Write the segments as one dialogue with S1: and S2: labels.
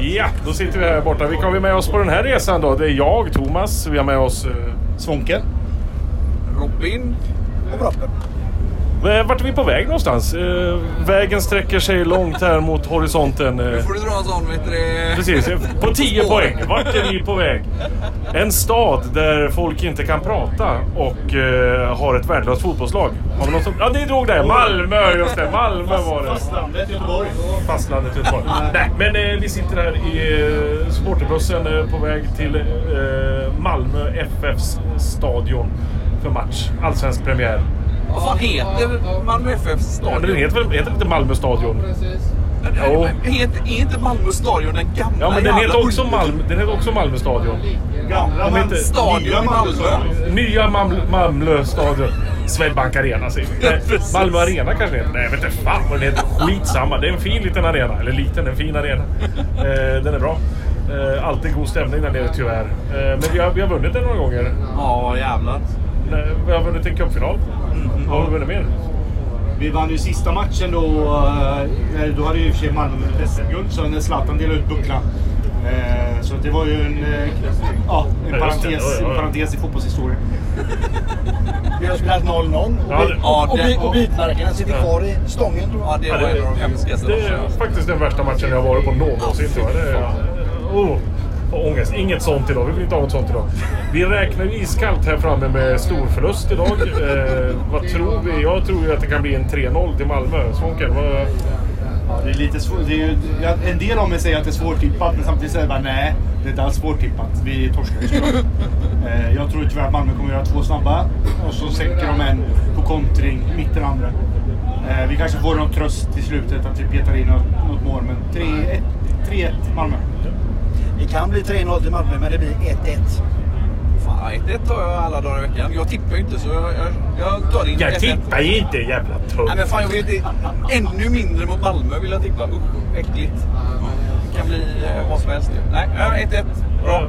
S1: Ja, då sitter vi här borta. Vilka har vi med oss på den här resan då? Det är jag, Thomas. Vi har med oss... eh,
S2: Svånke.
S3: Robin och Bratten.
S1: eh, Vart är vi på väg någonstans? Eh, Vägen sträcker sig långt här mot horisonten. eh.
S3: Nu får du dra en sån vet du det.
S1: Precis, eh, på 10
S3: spåren.
S1: poäng. Vart är vi på väg? En stad där folk inte kan prata och eh, har ett värdelöst fotbollslag. Har vi något som... Ja, det drog det. Malmö, just det. Malmö var det.
S2: Fastlandet Göteborg.
S1: fastlandet Göteborg. Nej, men eh, vi sitter här i eh, supporterbussen eh, på väg till eh, Malmö FFs stadion för match. Allsvensk premiär.
S3: Vad fan heter Malmö FFs
S1: Ja, men den
S3: stadion?
S1: heter väl heter inte Malmö stadion? Jo.
S3: Men heter, är inte Malmö stadion den gamla
S1: Ja, men den
S3: jävla
S1: heter också
S3: ul-
S1: Malmö, den heter också Malmö stadion.
S2: Gamla
S1: Om inte-
S2: Malmö.
S3: Stadion i Malmö.
S1: Nya Mam- Malmö stadion. Swedbank Arena säger vi. Nej,
S3: Precis.
S1: Malmö Arena kanske det heter. Nej, jag vet inte fan vad den heter. Skitsamma. Det är en fin liten arena. Eller liten, en fin arena. Eh, den är bra. Eh, alltid god stämning där nere tyvärr. Eh, men vi har, vi har vunnit den några gånger.
S3: Ja, jävlar.
S1: Nej, Vi har vunnit en cupfinal. Vad har vi vunnit mer?
S2: Vi vann ju sista matchen då. eh, när- Då hade ju i och för sig Malmö vunnit SM-guld, så när Zlatan delade ut bucklan. Eh, Så det var ju en, eh, ja,
S1: det,
S2: en, parentes,
S1: ja, ja.
S2: en parentes i fotbollshistorien. Vi har spelat 0-0
S1: Ja, det-
S3: Ja, och bi- och
S2: bitmärkena sitter kvar i stången.
S3: Ja, det var en av de hemskaste
S1: Det är
S3: matcherna.
S1: faktiskt den värsta matchen jag har varit på någonsin tror jag. Det är, oh, får ångest. Inget sånt idag. Vi vill inte ha något sånt idag. Vi räknar iskallt här framme med stor förlust idag. Eh, vad tror vi? Jag tror ju att det kan bli en 3-0 till Malmö. Svånken, vad...
S2: Det är lite svårt. Det är ju, ja, en del av mig säger att det är svårtippat, men samtidigt säger jag bara nej, det är inte alls svårtippat. Vi torskar ju såklart. eh, Jag tror tyvärr att Malmö kommer göra två snabba och så sänker de en på kontring, mitt den andra. Eh, vi kanske får någon tröst i slutet att vi petar in något, något mål, men 3-1 3-1 Malmö.
S4: Det kan bli 3-0 till Malmö, men det blir 1-1.
S3: Fan, 1-1 tar jag alla dagar i veckan. Jag tippar ju inte så jag, jag, jag tar in
S1: Jag
S3: 1-1.
S1: tippar ju inte jävla
S3: Nej, men
S1: tungt.
S3: fan, jag vill inte, ännu mindre mot Malmö vill jag tippa. Usch, äckligt. Det kan bli eh, vad som helst. Nej, ja, 1-1. Bra.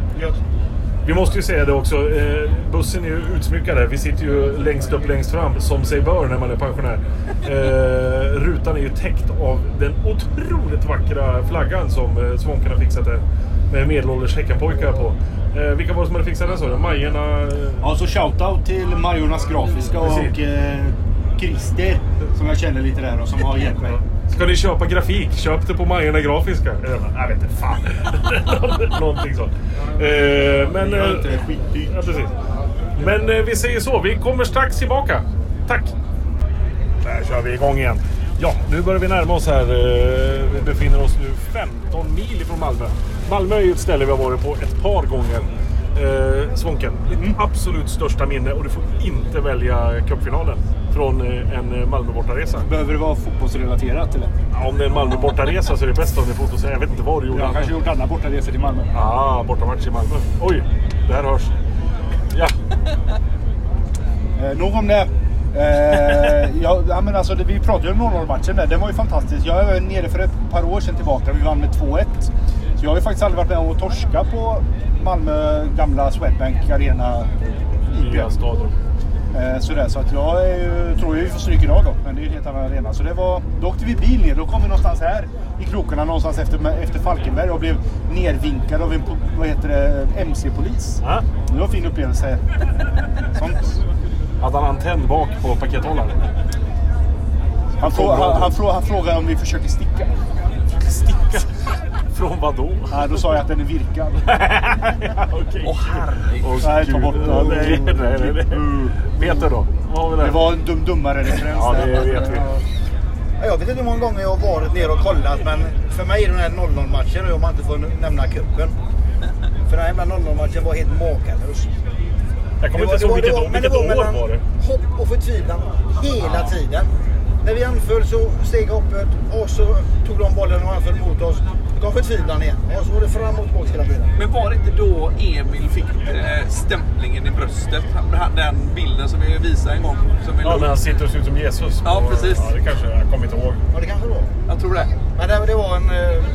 S1: Vi måste ju säga det också. Eh, bussen är ju utsmyckad här. Vi sitter ju längst upp, längst fram, som sig bör när man är pensionär. Eh, rutan är ju täckt av den otroligt vackra flaggan som eh, Svånken har fixat här. Med medelålders häckenpojkar på. Eh, vilka var det som hade fixat den sa du? Majerna? eh,
S2: Ja, så shoutout till Majornas Grafiska och eh, Christer, som jag känner lite där och som har hjälpt mig.
S1: Ska ni köpa grafik? Köp det på Majerna Grafiska. Eh, Jag, bara, jag vet inte fan. Någonting sånt. Eh, men...
S2: Det är
S1: eh,
S2: inte skitdyrt.
S1: Ja, precis. Men eh, vi säger så, vi kommer strax tillbaka. Tack! Där kör vi igång igen. Ja, nu börjar vi närma oss här. Eh, Vi befinner oss nu 15 mil ifrån Malmö. Malmö är ju ett ställe vi har varit på ett par gånger. Eh, Svånken, ditt absolut största minne och du får inte välja cupfinalen från eh, en eh, Malmö bortaresa.
S2: Behöver det vara fotbollsrelaterat eller?
S1: Ja, Om det är en Malmö bortaresa så är det bäst om det är fotbollsresa. Jag vet inte vad du gjorde.
S2: Jag har kanske gjort alla bortaresor till Malmö.
S1: Ah, bortamatch i Malmö. Oj, det här hörs. Ja,
S2: Eh, nog om det. Eh, ja, ja, men alltså, det, vi pratade ju om 0-0-matchen där. Den var ju fantastisk. Jag var nere för ett par år sedan tillbaka och vi vann med 2-1. Så jag har ju faktiskt aldrig varit med och torska på Malmö gamla Swedbank Arena.
S1: nya stadion.
S2: Eh, sådär, så att jag är ju, tror ju vi får stryk idag då. Men det är ju en helt annan arena. Så det var, då åkte vi bil ner. Då kom vi någonstans här i krokarna någonstans efter, efter Falkenberg och blev nervinkade av en po- vad heter det, MC-polis.
S1: Ja.
S2: Det var en fin upplevelse. Sånt.
S1: Hade han antenn bak på pakethållaren?
S2: Han, frå, han, han, frå, han frågade om vi försöker sticka.
S1: Sticka? Från vad då?
S2: Ja, då sa jag att den är virkad.
S1: Okej.
S3: Åh herregud.
S1: Åh,
S2: Nej,
S1: gud.
S2: ta bort den.
S1: Nej, nej, nej, nej. Peter då? Typ. Vad har vi där?
S2: Det var en dum dummare referens.
S1: Ja, det
S2: där.
S1: vet vi.
S4: Ja, Jag vet inte hur många gånger jag har varit nere och kollat, men för mig är den här 0-0-matchen, och om man inte får nämna cupen. För den här jävla 0-0-matchen var helt makalös.
S1: Jag kommer inte
S4: Det
S1: ihåg
S4: var- det
S1: vilket,
S4: var-
S1: år-
S4: men det
S1: vilket
S4: var
S1: år
S4: mellan
S1: var det.
S4: Hopp och förtvivlan hela tiden. När vi anföll så steg hoppet och så tog de bollen och anföll mot oss. Då kom förtvivlan igen och så var det fram och tillbaka hela tiden.
S3: Men var det inte då Emil fick eh, stämplingen i bröstet? Han- Den bilden som vi visade en gång. Som vi la
S1: Ja,
S3: upp.
S1: när han sitter och ser ut som Jesus.
S3: Ja,
S1: Och-
S3: precis.
S1: Ja, det kanske jag kommer inte ihåg.
S4: Ja, det kanske det var.
S3: Jag tror det.
S4: Men det, det var en... eh,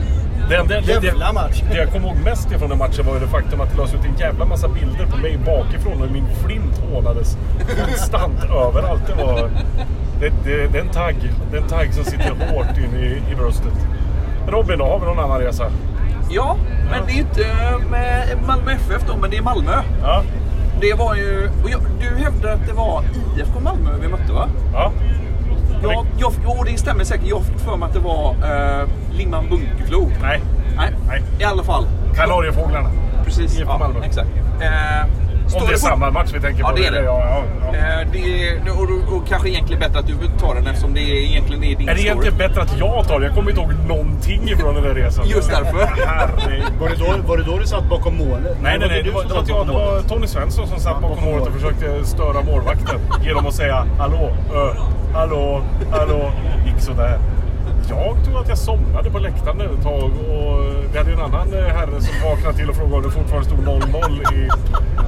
S1: Det, det, det,
S4: Jävla match.
S1: det jag kommer ihåg mest ifrån den matchen var ju det faktum att det lades ut en jävla massa bilder på mig bakifrån och min flint hånades konstant överallt. Det, var, det, det, det är en tagg. Det är en tagg som sitter hårt in i, i bröstet. Robin, då har vi någon annan resa?
S3: Ja, men det är inte eh, med Malmö FF då, men det är Malmö.
S1: Ja.
S3: Det var ju... Och jag, du hävdade att det var IFK Malmö vi mötte va?
S1: ja.
S3: Ja, jag, och det stämmer säkert. Jag fick för mig att det var eh, Limhamn Bunkeflo.
S1: Nej.
S3: Nej.
S1: Nej.
S3: I alla fall.
S1: Kanariefåglarna.
S3: Precis.
S1: IFK Malmö.
S3: Exakt. Eh,
S1: Om det är samma match vi tänker på.
S3: Ja, det är det.
S1: Ja, ja, ja.
S3: Eh, det är, och, och, och kanske egentligen bättre att du tar den eftersom det är egentligen är din
S1: Är det egentligen bättre att jag tar det? Jag kommer inte ihåg någonting från den där resan.
S3: Just därför.
S1: Herregud.
S2: Var det, då, var det då du satt bakom målet?
S1: Nej, nej, nej. Det var, det var, jag, det var Tony Svensson som satt bakom målet och försökte störa målvakten genom att säga hallå, ö, hallå, hallå. Gick sådär. Jag tror att jag somnade på läktaren ett tag och vi hade ju en annan eh, herre som vaknade till och frågade om det fortfarande stod 0-0 i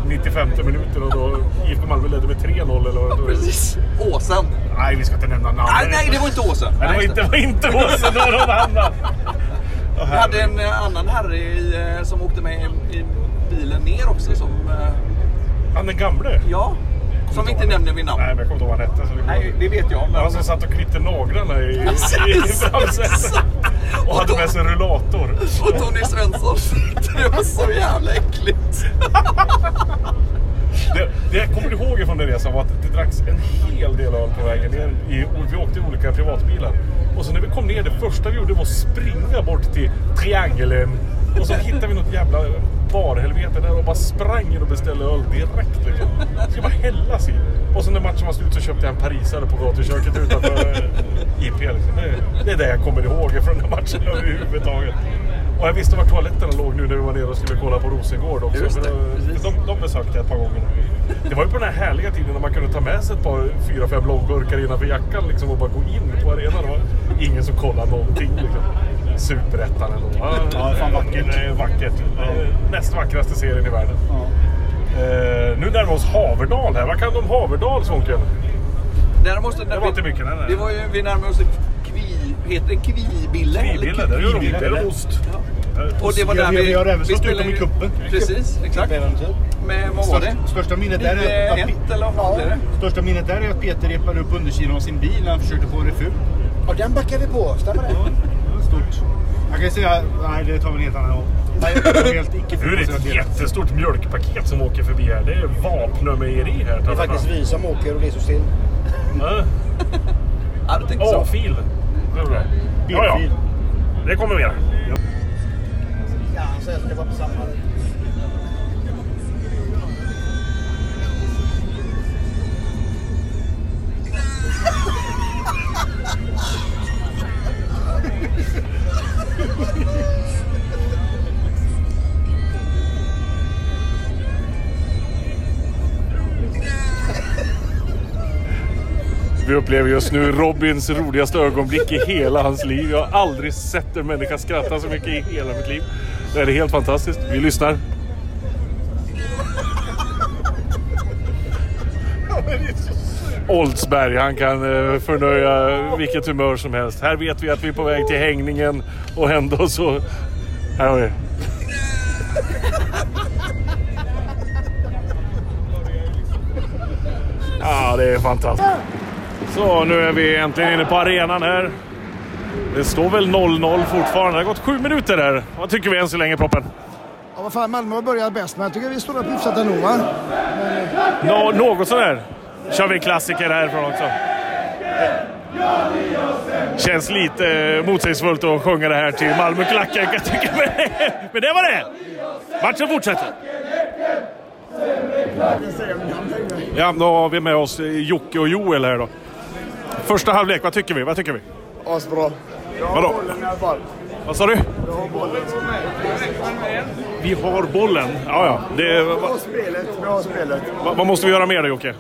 S1: 95 minuter och då IFK Malmö ledde med 3-0 eller vad det var.
S3: Precis. Åsen.
S1: Nej, vi ska inte nämna namn.
S3: Nej, nej, det var inte Åsen.
S1: Nej, det var
S3: just
S1: inte, det var inte Åse, det var någon annan. Åh,
S3: Vi hade en eh, annan herre i, eh, som åkte med i, i bilen ner också som... eh,
S1: Han den gamle?
S3: Ja. Som inte nämner min namn.
S1: Nej, men jag kommer inte ihåg vad han hette. så det kommer
S3: Nej,
S1: jag
S3: det vet jag. Men...
S1: Han som satt och klippte naglarna i, i
S3: Precis,
S1: framsätet.
S3: exakt.
S1: Och hade med sig en rullator.
S3: Och Tony Svensson. Det var så jävla äckligt.
S1: Det, det jag kommer ihåg från den resan var att det dracks en hel del öl på vägen ner. I, och vi åkte i olika privatbilar. Och så när vi kom ner, det första vi gjorde var att springa bort till triangeln. Och så hittade vi något jävla barhelvete där och bara sprang in och beställde öl direkt. Liksom. Det ska bara hällas i. Och så när matchen var slut så köpte jag en parisare på gatuköket utanför eh, IP. Liksom. Det, det är det jag kommer ihåg från den matchen överhuvudtaget. Och jag visste var toaletterna låg nu när vi var nere och skulle kolla på Rosengård också.
S3: Just det,
S1: För då-
S3: precis.
S1: de, de besökte jag ett par gånger. Det var ju på den här härliga tiden när man kunde ta med sig ett par fyra, fem långburkar innanför jackan liksom, och bara gå in på arenan. Det var ingen som kollade någonting. Liksom. Superettan ändå.
S2: Ja, fan vackert.
S1: Det är vackert. Det är Näst vackraste serien i världen.
S2: Ja.
S1: Eh, nu närmar vi oss Haverdal här. Vad kan du om Haverdal, Svånken?
S3: Däremot, så-
S1: Det var inte mycket, nej, nej.
S3: Det var ju, vi närmar oss kvi, heter det kvibille? eller
S1: Kvibille, där gör de-
S2: Kvibille,
S1: där är
S2: eller?
S1: ost.
S3: Ja. Och det var
S2: Vi har-
S3: där
S2: vi har- vi har även slått ut
S3: spelade
S2: dem i
S3: ju-
S2: cupen.
S3: Precis, exakt. Men vad var det?
S2: Största, största minnet där är att,
S3: 9-1 eller vad fan blev det?
S2: största minnet där är att Peter repade upp undersidan av sin bil när han försökte få det fult.
S4: Och den backar vi på, stämmer det?
S2: Det var Stort. Jag kan ju säga, nej det tar vi en helt annan gång. Nej, det var helt icke
S1: Nu är det ett jättestort mjölkpaket som åker förbi här. Det är Vapnömejeri här.
S4: Det är faktiskt vi som åker och det är så still.
S3: Ja, du tänkte så.
S1: A-fil. Ja, ja.
S2: Bilfil.
S1: Det kommer mer.
S4: Ja, han säger att det var på samma.
S1: Vi upplever just nu Robins roligaste ögonblick i hela hans liv. Jag har aldrig sett en människa skratta så mycket i hela mitt liv. Det här är helt fantastiskt. Vi lyssnar. Oldsberg, han kan eh, förnöja vilket humör som helst. Här vet vi att vi är på väg till hängningen och ändå så... Här har vi. Ja, det är fantastiskt. Så, nu är vi äntligen inne på arenan här. Det står väl 0-0 fortfarande. Det har gått sju minuter här. Vad tycker vi än så länge, Proppen?
S5: Ja, vad fan, Malmö har börjat bäst, men jag tycker vi står upp hyfsat ändå. Va?
S1: Nå- något sådär. kör vi klassiker härifrån också. Känns lite eh, motsägelsefullt att sjunga det här till Malmöklacken kan jag tycka. Men, men det var det! Matchen fortsätter. Ja, då har vi med oss eh, Jocke och Joel här då. Första halvlek, vad tycker vi? Vad tycker vi?
S5: Asbra.
S1: Vadå?
S5: i alla fall.
S1: Vad sa du? Vi har bollen. Ja, ja. Det, va,
S5: spelet, bra spelet.
S1: va, vad måste vi göra mer då, Jocke?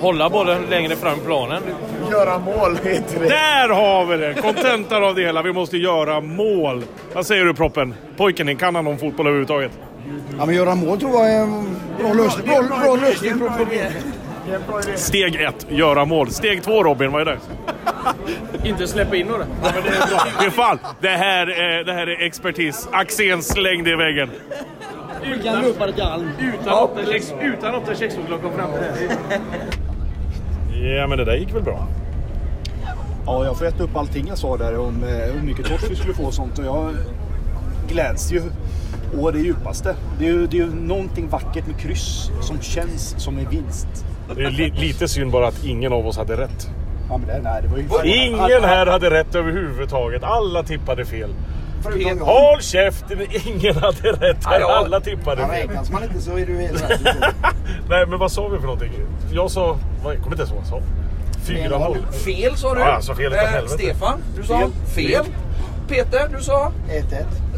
S6: hålla bollen längre fram i planen.
S5: Göra mål heter det.
S1: Där har vi det! Kontentan av det hela. Vi måste göra mål. Vad säger du Proppen? Pojken, kan han om fotboll överhuvudtaget?
S5: Ja, men göra mål tror jag är en bra lösning, bra, bra lösning på problemet.
S1: Steg ett, göra mål. Steg två Robin, vad är det?
S6: Inte släppa in några.
S1: Det, fan, det, här är, det här är expertis. Axén slängde i väggen.
S6: Utan åtta kexchoklad kom fram.
S1: Ja, men det där gick väl bra?
S2: Ja, jag får äta upp allting jag sa där om eh, hur mycket torsk vi skulle få och sånt. Och jag gläds ju å det djupaste. Det är, ju, det är ju någonting vackert med kryss som känns som en vinst.
S1: Det är li, lite synd bara att ingen av oss hade rätt.
S2: Ja, men det, nej, det var ju...
S1: Ingen här hade rätt överhuvudtaget. Alla tippade fel.
S5: Förutom jag.
S1: Håll käften! Ingen hade rätt här.
S3: Ja, ja.
S1: Alla tippade
S5: Ja,
S1: fel.
S5: Räknas man inte så är du helt rätt.
S1: Nej, men vad sa vi för någonting? Jag sa... vad- Jag kommer inte ens ihåg vad jag sa. 4-0.
S3: Fel sa du.
S1: Ja, alltså fel utav
S3: Eh,
S1: helvete.
S3: Stefan, du sa fel. Peter, du sa
S5: 1-1.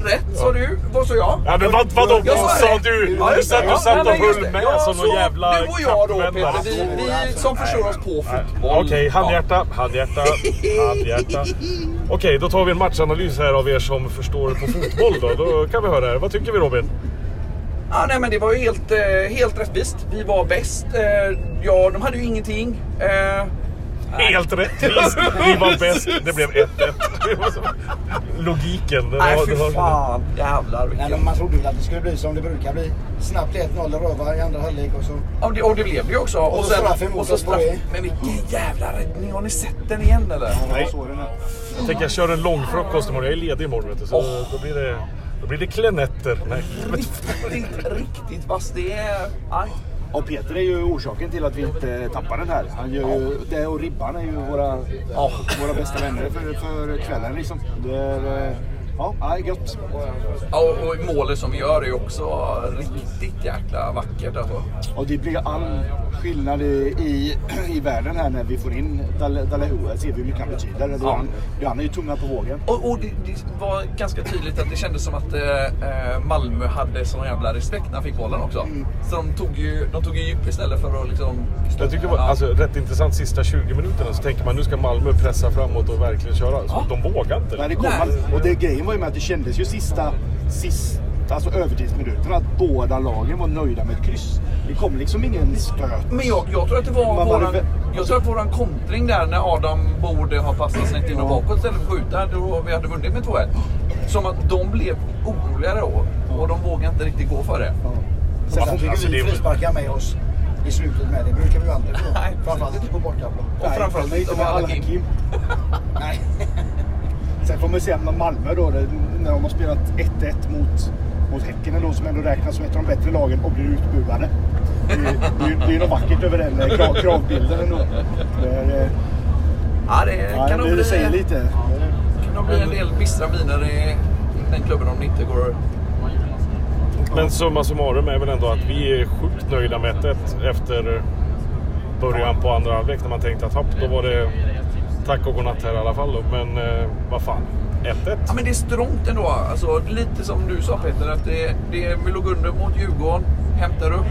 S3: rätt. Sa du. Vad sa jag?
S1: Ja, men vad, vadå?
S3: Jag
S1: Vad
S3: sa
S1: sa
S3: rätt.
S1: du?
S3: Ja,
S1: Du
S3: just det.
S1: satt,
S3: Ja,
S1: du satt och
S3: nej, men just
S1: höll
S3: det.
S1: med
S3: Ja,
S1: som någon
S3: så
S1: jävla
S3: Du och jag då
S1: kappvändare.
S3: Peter, vi, vi som försöker oss på fotboll.
S1: Okej, handhjärta, handhjärta, handhjärta. Okej, då tar vi en matchanalys här av er som förstår på fotboll då. Då kan vi höra här. Vad tycker vi Robin?
S3: Ja, nej, men det var ju helt, eh, helt rättvist. Vi var bäst. Eh, ja, de hade ju ingenting. Eh,
S1: Helt rättvist! Ni var bäst, det blev 1-1. Det var så- Logiken. det
S3: nej,
S1: var- det var-
S3: fy fan. Jävlar
S5: Nej,
S3: vilken...
S5: men man trodde väl att det skulle bli som det brukar bli. Snabbt 1-0 rövar i andra halvlek och så.
S3: Och det, och det blev det ju också. Och,
S5: så straff emot oss på det.
S3: Men vilken jävla räddning. Har ni sett den igen eller?
S2: Nej. Så är det nu.
S1: Jag tänker jag kör en lång frukost imorgon. Jag är ledig imorgon vet du. Så
S3: Åh.
S1: då blir det... Då blir det klenetter. Nej.
S3: Riktigt, riktigt vass. Det är... Aj.
S2: Och Peter är ju orsaken till att vi inte tappar den här. Han gör ju, det och Ribban är ju våra, våra bästa vänner för, för kvällen liksom. Det är, eh, ja, ja, gött.
S3: Ja, och och målet som vi gör är ju också riktigt jäkla vackert. Alltså.
S2: Och det blir all skillnad i, i, i världen här när vi får in Dal- Dalahou. Här ser vi hur mycket han betyder. Det är Han, det är han är ju tunga på vågen.
S3: Och, och det, det var ganska tydligt att det kändes som att eh, eh, Malmö hade sån jävla respekt när han fick bollen också. Så de tog ju, de tog ju djup istället för att liksom...
S1: Jag tycker det var
S3: Ja.
S1: alltså, rätt intressant sista 20 minuterna. Så tänker man nu ska Malmö pressa framåt och verkligen köra. Så De vågar inte.
S2: Men det kom,
S3: Nej.
S2: och det grejen var ju med att det kändes ju sista, sist, alltså övertidsminuterna att båda lagen var nöjda med ett kryss. Det kom liksom ingen stöt.
S3: Men jag, jag tror att det var
S2: Man bara-
S3: våran, jag tror att våran kontring där när Adam borde ha passat snett in och bakåt istället för att skjuta. Då vi hade vunnit med 2-1. Som att de blev oroligare då. Och de vågade inte riktigt gå för det.
S5: Sen fick
S1: alltså, det
S5: vi
S1: är-
S5: frisparkar med oss i slutet med. Det brukar vi ju aldrig få.
S3: Nej.
S5: Framförallt inte på bortaplan.
S3: Och framförallt
S2: Nej, inte
S3: inte
S2: med
S3: med alla
S2: Al-Hakim.
S3: Kim.
S5: Nej.
S2: Sen får man se med Malmö då, det- när de har spelat 1-1 mot, mot Häcken ändå, som ändå räknas som ett av de bättre lagen och blir utbuade. Det, det, det är något vackert över den eh, krav, kravbilden ändå. Det, är, eh,
S3: Ja, det
S2: ja,
S3: kan nog
S2: det, det säger
S3: bli,
S2: lite.
S3: kan nog bli en del bistra miner i den klubben om det inte går...
S1: Men summa summarum är väl ändå att vi är sjukt nöjda med 1-1 efter början på andra halvlek när man tänkte att hopp, då var det tack och godnatt här i alla fall. då. Men eh, vad fan, 1-1.
S3: Ja, men det är strångt ändå. Alltså, lite som du sa Peter, att det, det, vi låg under mot Djurgården, hämtar upp.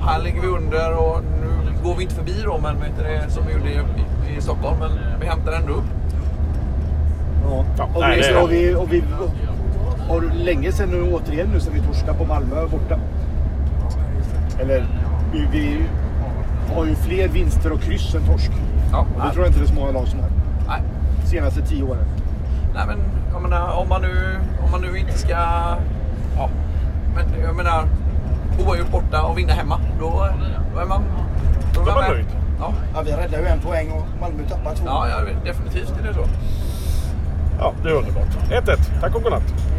S3: Här ligger vi under och nu går vi inte förbi då, men vet du, det, som vi gjorde i, i Stockholm. Men vi hämtar ändå upp.
S2: Ja. Och,
S1: nej,
S2: vi,
S1: det-
S2: och, vi, och vi har länge sedan nu återigen nu sen vi torskade på Malmö borta. Eller vi, vi har ju fler vinster och kryss än torsk.
S3: Ja,
S2: Och det tror jag inte det är så många lag som har.
S3: nej,
S2: Senaste tio åren.
S3: nej, men jag menar, om man nu, om man nu inte ska... Ja, men jag menar, oavgjort borta och vinna hemma, då, då är man... Då
S1: är man
S3: med.
S1: nöjd.
S3: Ja,
S5: Ja, vi räddade ju en poäng och Malmö tappade två.
S3: ja, ja, definitivt är det så.
S1: Ja, det är underbart. 1-1, tack och godnatt.